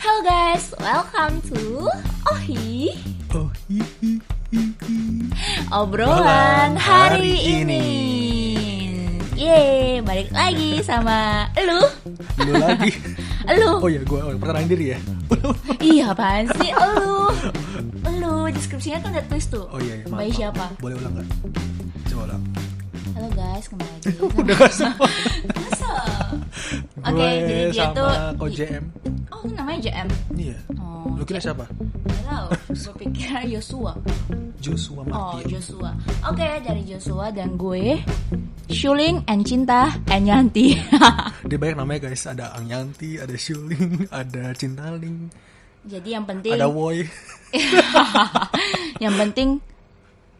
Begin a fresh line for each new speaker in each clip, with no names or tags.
Hello guys, welcome to Ohi
Oh, hi, hi, hi, hi.
Obrolan
Obrolan
hari
hari
ini. Yeay, balik lagi sama lu.
Lu lagi.
Lu.
Oh ya, gue perkenalan diri ya.
Iya, apaan sih lu? Lu deskripsinya kan udah twist tuh.
Oh iya, iya maaf,
By
maaf.
siapa? Nah.
Boleh ulang nggak? Coba ulang.
Halo guys, kembali lagi.
Udah gak semua.
Masa? Oke,
Gue
jadi dia
sama
tuh
Ko JM.
Oh, namanya JM.
Iya.
Oh,
Lu kira siapa?
Gak tau, gue pikir Yosua
Joshua
Oh,
Martin.
Joshua Oke, dari Joshua dan gue Shuling and Cinta and Yanti
Dia banyak namanya guys. Ada Ang Yanti, ada Shuling, ada Cintaling,
Jadi yang penting
ada Woy.
yang penting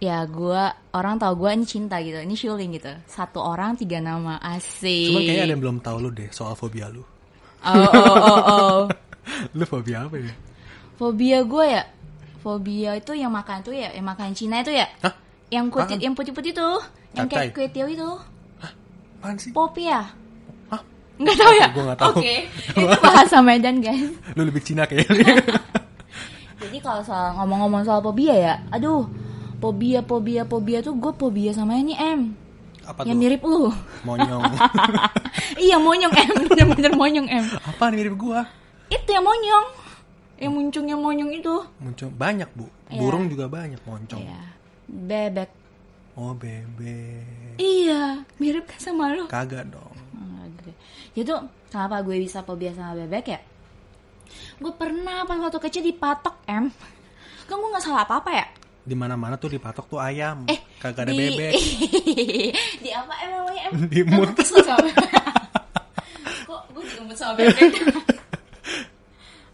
ya gua orang tahu gua ini cinta gitu. Ini Shuling gitu. Satu orang tiga nama. Asik.
Cuman kayaknya ada yang belum tahu lu deh soal fobia lu.
Oh oh oh oh.
Lu fobia apa ya?
Fobia gua ya. Fobia itu yang makan tuh ya, yang makan Cina itu ya.
Hah?
Yang kulit
Apaan?
yang putih-putih tuh, yang kayak
Capcay.
kue tiaw itu.
Apaan sih?
Pop ya?
Hah?
Nggak tahu ya?
Gua nggak tahu.
Oke. Itu bahasa Medan, guys.
Lu lebih Cina kayaknya.
Jadi kalau soal ngomong-ngomong soal fobia ya, aduh, fobia, fobia, fobia tuh gue fobia sama ini M,
apa
yang
tuh?
mirip lu.
Monyong.
iya monyong em bener-bener monyong em
Apaan mirip gua?
itu yang monyong yang muncungnya monyong itu
Muncul banyak, Bu.
Iya.
Burung juga banyak moncong.
ya bebek
Oh bebek
iya mirip kan sama lu
Kagak dong
itu kenapa gue bisa fobia sama bebek ya gue pernah pas waktu kecil dipatok em kan gue nggak salah apa apa ya
di mana mana tuh dipatok tuh ayam
eh
Kagak ada
di-
bebek
di apa em namanya em
Di
Kan gua
mut.
kesel sama bebek. kok gue diumpet sama bebek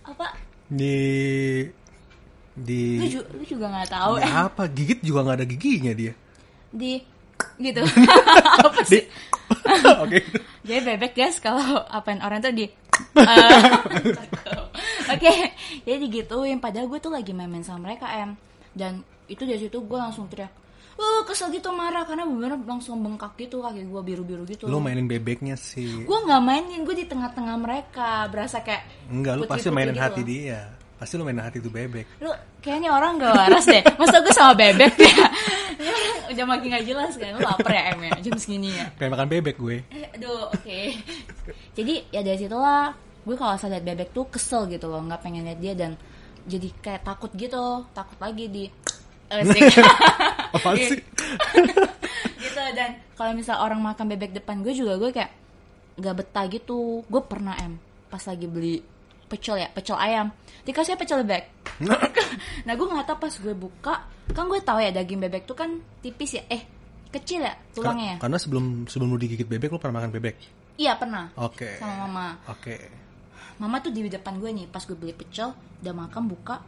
apa
Di Di
lu, ju- lu juga nggak tahu
di
em
Apa gigit juga nggak ada giginya dia
di gitu apa sih
Di- Oke
jadi bebek guys kalau apain orang tuh di Eh, cakep. oke jadi digituin padahal gue tuh lagi main-main sama mereka em dan itu dari situ gue langsung teriak uh kesel gitu marah karena bener langsung bengkak gitu kaki gue biru-biru gitu
Lu mainin bebeknya sih
gue nggak mainin gue di tengah-tengah mereka berasa kayak
Enggak lu pasti
putih-putih
mainin
gitu
hati
loh.
dia Pasti lu mainin hati tuh bebek
lu kayaknya orang gak waras deh masa gue sama bebek ya udah makin gak jelas kan lu lapar ya em ya jam segini ya
Kayak makan bebek gue
Eh, aduh oke jadi ya dari situlah gue kalau saya lihat bebek tuh kesel gitu loh nggak pengen lihat dia dan jadi kayak takut gitu takut lagi di Asik.
Apa
Iya,
sih?
gitu dan kalau misal orang makan bebek depan gue juga gue kayak nggak betah gitu gue pernah em pas lagi beli pecel ya pecel ayam dikasih pecel bebek nah gue nggak tahu pas gue buka kan gue tahu ya daging bebek tuh kan tipis ya eh kecil ya tulangnya ya
Karena karena sebelum sebelum lu digigit bebek lu pernah makan bebek
iya pernah
Oke
sama mama
Oke
Mama tuh di depan gue nih pas gue beli pecel udah makan buka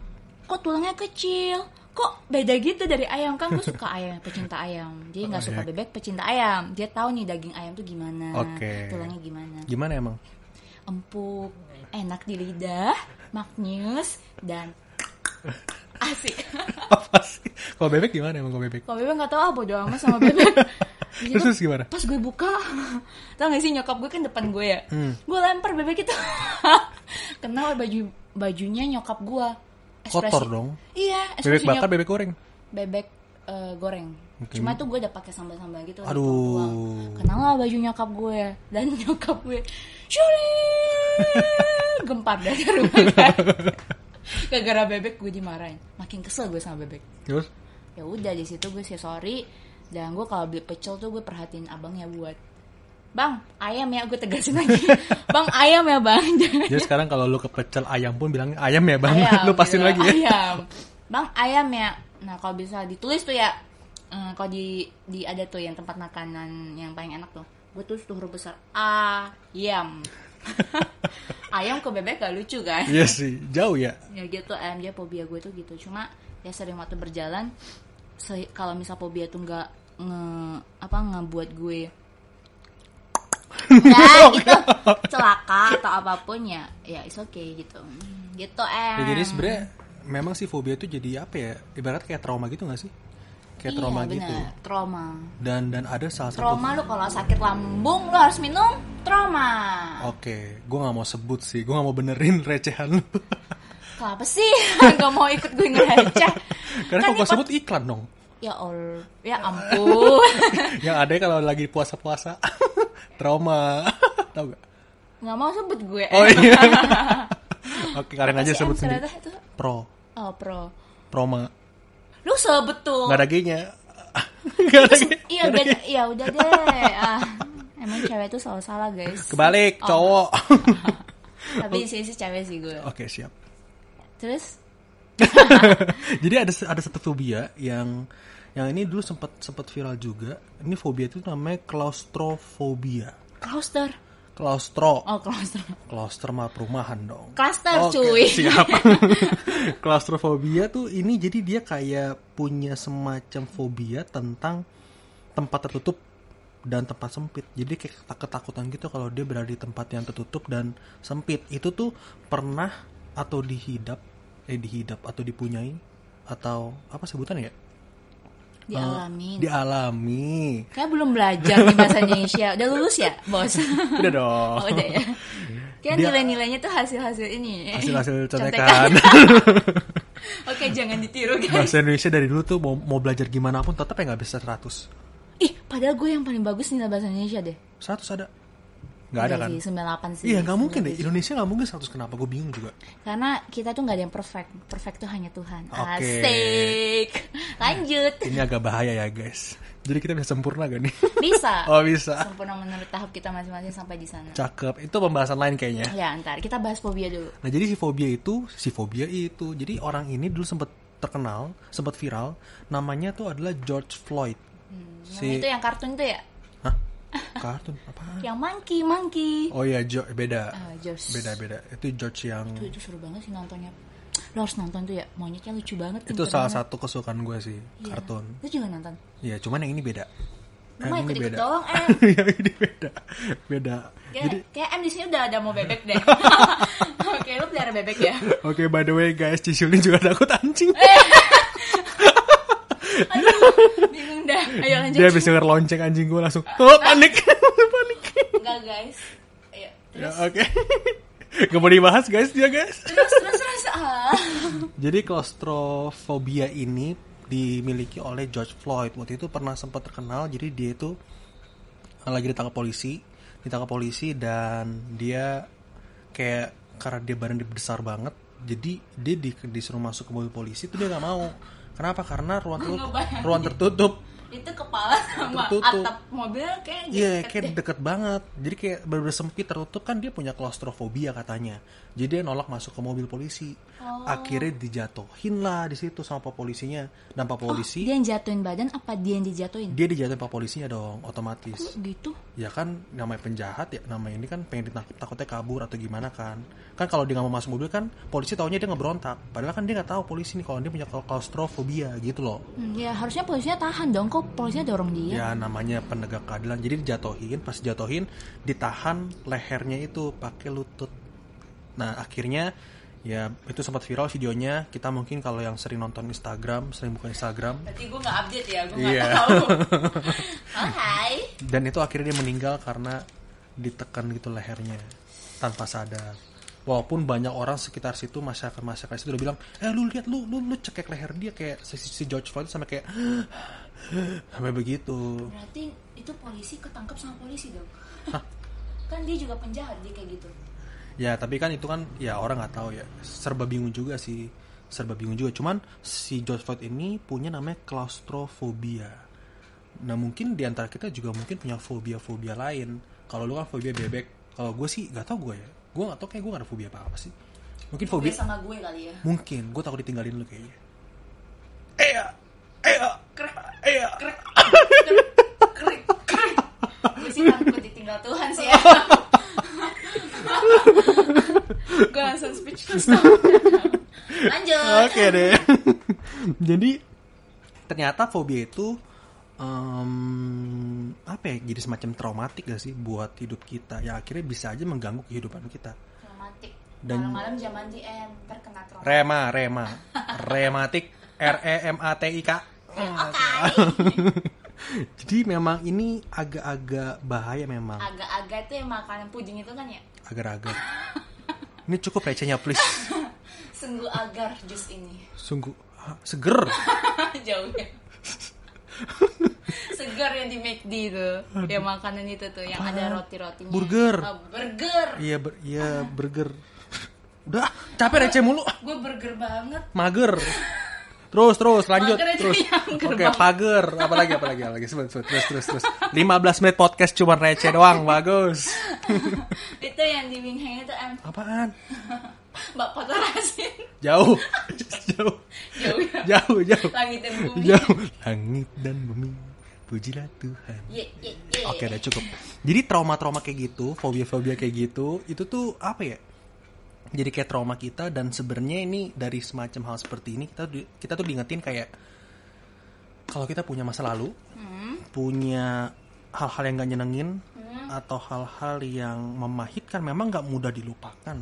kok tulangnya kecil kok beda gitu dari ayam kan gue suka ayam pecinta ayam dia nggak
Oh,
suka
ya.
bebek pecinta ayam dia tahu nih daging ayam tuh gimana
Oke.
tulangnya gimana
Gimana emang?
empuk enak di lidah maknyus dan asik
Apa sih? Kalau bebek gimana emang kalau bebek?
kalau bebek nggak tahu ah bodo amat sama bebek Di situ
Terus, terus gimana?
pas gue buka tau gak sih nyokap gue kan depan gue ya
Hmm.
gue lempar bebek itu kenal baju bajunya nyokap gue Ekspresi-
Kotor dong.
iya
Bebek
ekspresi
bakar,
nyok-
bebek goreng
bebek eh, goreng
Oke.
cuma tuh gue udah pakai sambal-sambal gitu
Aduh.
dibuang-buang. kenal lah baju nyokap gue dan nyokap gue Shuri gempar dari rumah gara-gara bebek gue dimarahin makin kesel gue sama bebek
Terus?
ya udah di situ gue sih sorry dan gue kalau beli pecel tuh gue perhatiin abangnya buat bang ayam ya gue tegasin lagi bang ayam ya bang Jangan
Jadi sekarang kalau lu kepecel ayam pun bilangnya ayam ya bang,
ayam
lu pastiin
gitu.
lagi ya.
ayam bang ayam ya nah kalau bisa ditulis tuh ya eh, kalau di di ada tuh yang tempat makanan yang paling enak tuh gue tulis tuh huruf besar ayam ayam ke bebek gak lucu kan
Iya sih, jauh ya.
ya gitu em dia fobia gue tuh gitu cuma ya sering waktu berjalan se- kalau misal fobia tuh nggak nge apa ngebuat gue ya gitu celaka atau apapun ya ya it's okay gitu Hmm, gitu em
Ya, jadi sebenarnya memang sih fobia itu jadi apa ya? Ibarat kayak trauma gitu gak sih? Kayak
Iya,
trauma
bener.
gitu.
trauma
Dan dan ada salah satu.
trauma lu kalau sakit lambung lu harus minum trauma
Oke, gue nggak mau sebut sih, gue nggak mau benerin recehan lu.
Kenapa sih? Gak mau ikut gue ngeraca.
Karena kalau
ikut-
tersebut iklan dong.
Ya Allah, ya ampun.
Yang ada kalau lagi puasa-puasa. Trauma. Tahu gak?
Gak mau sebut gue.
Oh iya. Oke, kalian
Apa
aja
sih,
sebut
Em?
sendiri.
Ternyata itu-
Pro.
Oh, pro.
Proma.
Lu sebut tuh.
Nggak ada G-nya. Nggak ada G.
Iya, beda. Iya, udah deh. Ah, emang cewek tuh selalu salah, guys.
Kebalik,
Oh.
cowok.
Tapi sih sih cewek sih gue.
Oke, siap.
Terus
Jadi ada ada satu fobia yang yang ini dulu sempat sempat viral juga. Ini fobia itu namanya klaustrofobia.
cluster.
Klaustro.
Oh, cluster.
Kloster mah perumahan dong.
Cluster,
Oke,
cuy.
Siap. Klaustrofobia tuh ini jadi dia kayak punya semacam fobia tentang tempat tertutup dan tempat sempit. Jadi kayak ketak- ketakutan gitu kalau dia berada di tempat yang tertutup dan sempit. Itu tuh pernah atau dihidap eh dihidap atau dipunyai atau apa sebutan ya? Oh.
Dialamin.
Dialami.
Kayak belum belajar nih bahasa Indonesia. Udah lulus ya, Bos?
Udah dong.
Oh, udah ya. Kayak
Dia-
nilai-nilainya tuh hasil-hasil ini.
Hasil-hasil
Contekan.
contekan.
Oke, jangan ditiru, guys.
Bahasa Indonesia dari dulu tuh mau, mau belajar gimana pun tetap ya nggak bisa 100.
Ih, padahal gue yang paling bagus nilai bahasa Indonesia deh.
100 ada nggak ada kan
Sih, 98 sih.
iya nggak mungkin deh Indonesia nggak mungkin 100 kenapa gue bingung juga
Karena kita tuh nggak ada yang perfect. Perfect tuh hanya Tuhan.
Oke.
Asik. Lanjut.
ini agak bahaya ya guys jadi kita bisa sempurna gak nih
Bisa.
oh bisa
Sempurna menurut tahap kita masing-masing sampai di sana.
cakep itu pembahasan lain kayaknya
Ya, ntar kita bahas fobia dulu.
nah jadi si fobia itu si fobia itu jadi orang ini dulu sempat terkenal sempat viral namanya tuh adalah George Floyd
Yang
si
itu yang kartun Hmm, tuh ya?
Hah? kartun apa
Yang monkey, monkey.
oh iya Jo- beda
Ah, George.
beda beda itu George yang
Duh, itu seru banget sih nontonnya. Lo harus nonton tuh ya. Monyetnya lucu banget.
itu
pinter
salah
banget.
satu kesukaan gue sih
Iya.
kartun
Lo juga nonton.
ya cuman yang ini beda
Mama
Yang Eh, ini
ikut-ikut
beda.
doang, Em.
Iya, ini beda. Beda.
Kayak,
Jadi
kayak Em di sini udah ada mau bebek deh. Oke, lo pelihara bebek ya.
Oke, by the way guys, Cisul ini juga takut anjing.
Bingung dah. Ayo lanjut.
Dia habis denger lonceng anjing gue langsung, oh panik, panik.
Enggak, guys. Ayo.
Ya, oke. Gak mau dibahas guys dia guys.
Terus, terus, terus. Ah.
Jadi klaustrofobia ini dimiliki oleh George Floyd. Waktu itu pernah sempat terkenal, jadi dia itu eh, lagi ditangkap polisi, ditangkap polisi dan dia kayak karena dia badan dia besar banget, jadi dia di, disuruh masuk ke mobil polisi itu dia nggak mau. Kenapa? Karena ruang tertutup,
ngebayangin.
ruang tertutup.
Itu kepala sama
Tertutup.
atap mobil kayak gitu.
Iya, kayak deket banget. Jadi kayak bener sempit tertutup kan dia punya klaustrofobia katanya. Jadi dia nolak masuk ke mobil polisi. Akhirnya dijatuhin lah di situ sama pak polisinya. Dan pak polisi,
Dia yang jatuhin badan apa dia yang dijatuhin?
dia dijatuhin pak polisinya dong, otomatis.
Gitu.
Ya kan namanya penjahat ya, namanya ini kan pengen ditangkap takutnya kabur atau gimana kan. Kan kalau dia nggak mau masuk mobil kan polisi taunya dia ngeberontak. Padahal kan dia nggak tahu polisi nih kalau dia punya klaustrofobia gitu loh.
Hmm, ya harusnya polisinya tahan dong. Kok polisinya dorong dia?
ya namanya penegak keadilan jadi dijatuhin pas jatuhin ditahan lehernya itu pakai lutut nah akhirnya ya itu sempat viral videonya kita mungkin kalau yang sering nonton Instagram sering buka Instagram
Berarti gue gak update ya. Gue
Iya.
tahu. oh, hai.
dan itu akhirnya dia meninggal karena ditekan gitu lehernya tanpa sadar walaupun banyak orang sekitar situ masyarakat masyarakat situ udah bilang eh lu lihat lu lu lu cekek leher dia kayak si, si George Floyd sama kayak sampai begitu
Berarti itu polisi ketangkep sama polisi dong. kan dia juga penjahat dia kayak gitu.
Ya tapi kan itu kan ya orang nggak tahu ya serba bingung juga sih serba bingung juga cuman si George Floyd ini punya namanya klaustrofobia. Nah mungkin di antara kita juga mungkin punya fobia-fobia lain. Kalau lu kan fobia bebek, kalau gue sih nggak tahu gue ya. Gue nggak tahu kayak gue nggak ada fobia apa apa sih. Mungkin fobia,
Dia sama gue kali ya.
mungkin gue takut ditinggalin lu kayaknya. Iya, iya, iya.
Krik, krik. Gue sih takut ditinggal Tuhan sih ya. gue langsung speechless tau. Lanjut.
Oke deh. jadi ternyata fobia itu em, apa ya? Jadi semacam traumatik gak sih buat hidup kita? Ya akhirnya bisa aja mengganggu kehidupan kita.
Traumatik.
Dan-
Malam-malam eh, zaman DM terkena trauma.
Rema, rema, rematik, R E M A T I K. Jadi memang ini agak-agak bahaya memang,
Agak-agak itu yang makanan puding itu kan ya.
agak-agak. Ini cukup recehnya please.
Sungguh agar jus ini.
Sungguh ah, seger.
Jauhnya. Segar yang di McD itu. Ya makanan itu tuh yang ada roti-rotinya.
Burger.
Oh, burger.
Iya, ber- iya burger. Udah, ah, capek receh mulu.
Gue burger banget.
Mager. Terus, terus, lanjut,
Mager aja
terus.
yang mager
Oke,
banget.
pager. Apalagi, apalagi, apalagi. Sebentar, sebentar. Terus, terus, terus. 15 menit podcast cuma receh doang. Bagus.
itu yang di Wing Hang itu em
Apaan?
Mbak Kotor Asin.
Jauh. Jauh.
Jauh ya.
Jauh, jauh.
Langit dan bumi.
Jauh. Langit dan bumi. Pujilah Tuhan.
Ye, ye, ye.
Oke, udah cukup. Jadi trauma-trauma kayak gitu, fobia-fobia kayak gitu, itu tuh apa ya? Jadi kayak trauma kita dan sebenarnya ini dari semacam hal seperti ini kita di- kita tuh diingetin kayak kalau kita punya masa lalu, punya hal-hal yang gak nyenengin atau hal-hal yang memahitkan memang nggak mudah dilupakan.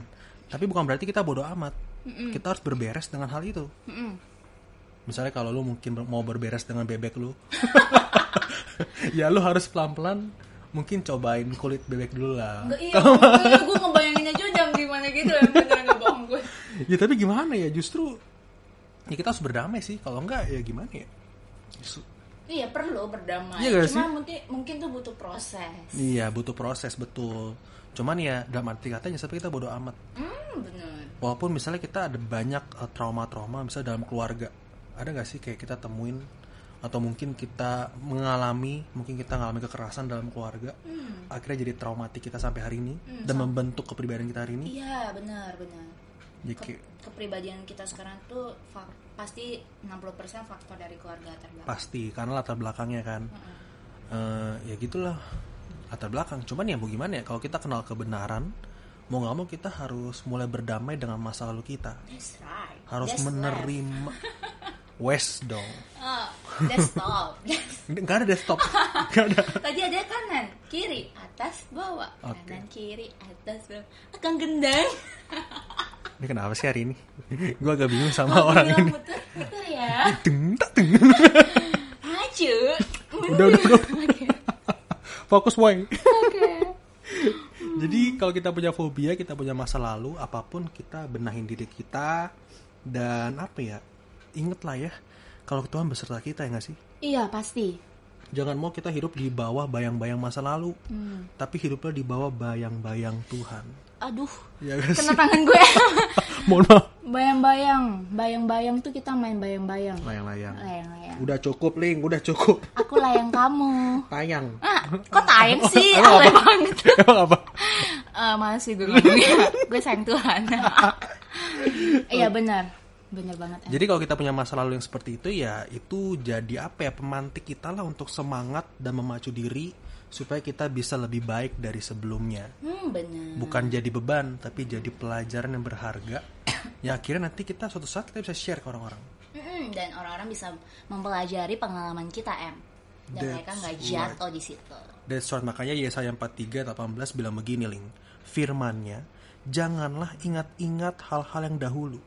Tapi bukan berarti kita bodoh amat. Kita harus berberes dengan hal itu.
Mm-mm.
Misalnya kalau lu mungkin ber- mau berberes dengan bebek lu, ya lu harus pelan-pelan mungkin cobain kulit bebek dulu lah.
Nggak, iya, gue, gue ngebayangin aja jam gimana gitu yang beneran gak bohong gue
Ya tapi gimana ya justru ya kita harus berdamai sih. Kalau enggak ya gimana ya? Justru-
Iya perlu berdamai
Iya nggak
Cuma
sih?
mungkin mungkin tuh butuh proses
Iya butuh proses betul. Cuman ya dalam arti katanya tapi kita bodoh amat.
Hmm bener
Walaupun misalnya kita ada banyak eh, trauma-trauma misalnya dalam keluarga, ada nggak sih kayak kita temuin atau mungkin kita mengalami, mungkin kita mengalami kekerasan dalam keluarga, akhirnya jadi traumatik kita sampai hari ini dan membentuk kepribadian kita hari ini.
Iya bener bener
Ya,
Ke-
kayak-
Kepribadian kita sekarang tuh fak- pasti 60% faktor dari keluarga terbelakang
pasti karena latar belakangnya kan, Eh, ya gitulah latar belakang. Cuman ya mau gimana ya kalau kita kenal kebenaran, mau nggak mau kita harus mulai berdamai dengan masa lalu kita,
That's right
harus
That's left.
menerima. West dong,
Oh, That's top That's-
nggak ada desktop, nggak ada.
Tadi ada kanan, kiri, atas, bawah
Oke.
Kanan, kiri, atas, bawah Ah, Akan gendang
Ini kenapa sih hari ini? gue agak bingung sama
Mau
Nah,
bilang Iya,
orang ini.
muter, muter ya
Deng, tak, deng.
Maju
Udah, udah, udah. Fokus, boy. Jadi kalau kita punya fobia, kita punya masa lalu, apapun kita benahin diri kita dan apa ya? Ingatlah ya, kalau Tuhan beserta kita ya nggak sih?
Iya pasti
Jangan mau kita hidup di bawah bayang-bayang masa lalu, tapi hiduplah di bawah bayang-bayang Tuhan.
Aduh
Ya nggak
Kena
sih?
tangan gue
Mohon maaf.
Bayang-bayang Bayang-bayang tuh kita main bayang-bayang
Layang-layang.
Layang-layang
Udah cukup, Ling. Udah cukup.
Aku layang kamu
Tayang.
Ah, kok tayang sih?
Emang
Alay
apa?
banget.
Emang apa?
Eh, males sih gue ngomongnya. gue sayang Tuhan. Iya benar. Benar banget. Em.
Jadi kalau kita punya masa lalu yang seperti itu ya itu jadi apa ya pemantik kita lah untuk semangat dan memacu diri supaya kita bisa lebih baik dari sebelumnya.
Hmm, benar.
Bukan jadi beban tapi jadi pelajaran yang berharga. ya akhirnya nanti kita suatu saat kita bisa share ke orang-orang.
Mm-mm, Hmm, dan orang-orang bisa mempelajari pengalaman kita, Em. Dan
That's
mereka nggak
right.
jatuh di situ.
That's right. Makanya Yesaya 43 18 bilang begini, Ling. Firmannya, janganlah ingat-ingat hal-hal yang dahulu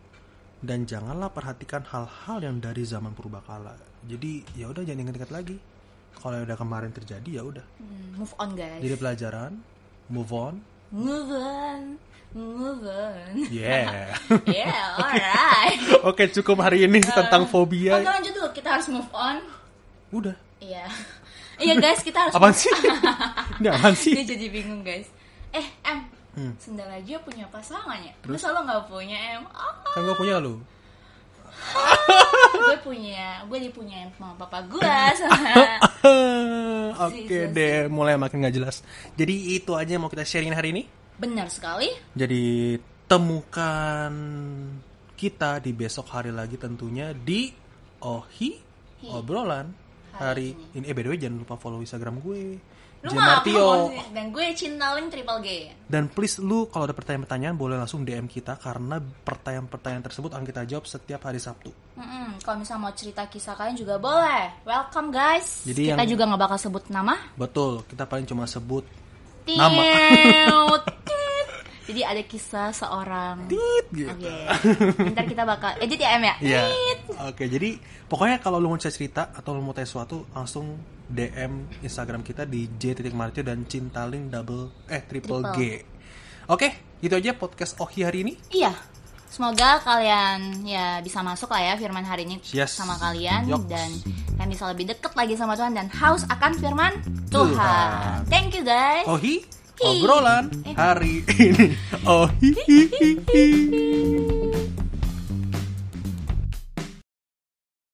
dan janganlah perhatikan hal-hal yang dari zaman purbakala. Jadi ya udah jangan ingat-ingat lagi. Kalau yang udah kemarin terjadi ya udah.
Hmm, move on, guys.
Jadi pelajaran, move on.
Move on. Move on.
Yeah.
Yeah, alright.
Oke, cukup hari ini tentang
Oke,
fobia.
lanjut dulu. Kita harus move on.
Udah.
Iya. Iya, guys, kita harus
Apaan sih? Ini apaan sih? Hmm.
Dia jadi bingung guys. Eh Em, sendal aja punya pasangan ya? Masa lo gak punya Em? Ah,
Kan gue punya lu.
gue punya, gue dipunyain sama papa gue sama.
Oke
Serius.
deh, mulai makin nggak jelas. Jadi itu aja yang mau kita sharingin hari ini.
Benar sekali.
Jadi temukan kita di besok hari lagi tentunya di Ohi obrolan hari ini. Eh by the way jangan lupa follow Instagram gue.
Lu
Jemartio.
ngapain? Dan gue cinta link triple G.
Dan please lu kalau ada pertanyaan-pertanyaan boleh langsung DM kita karena pertanyaan-pertanyaan tersebut akan kita jawab setiap hari Sabtu.
Mm-mm, Kalau misalnya mau cerita kisah kalian juga boleh. Welcome guys. kita
Jadi yang-
juga nggak bakal sebut nama.
Betul, kita paling cuma sebut Nama.
Tiut, tiut. Jadi ada kisah seorang.
tit gitu.
Oke. Ntar kita bakal edit ya Em ya.
Iya. Oke, jadi pokoknya kalau lu mau cerita cerita atau lu mau tanya sesuatu langsung DM Instagram kita di J titik Martio dan Cintalin double eh triple G. Oke, itu aja podcast Ohi hari ini.
Iya. Semoga kalian ya bisa masuk lah ya firman hari ini
Yes.
sama kalian
Yoks.
dan kalian bisa lebih deket lagi sama Tuhan dan haus akan firman Tuhan.
Tuhan.
Thank you guys.
Ohi
Hi.
obrolan hari ini. Ohi.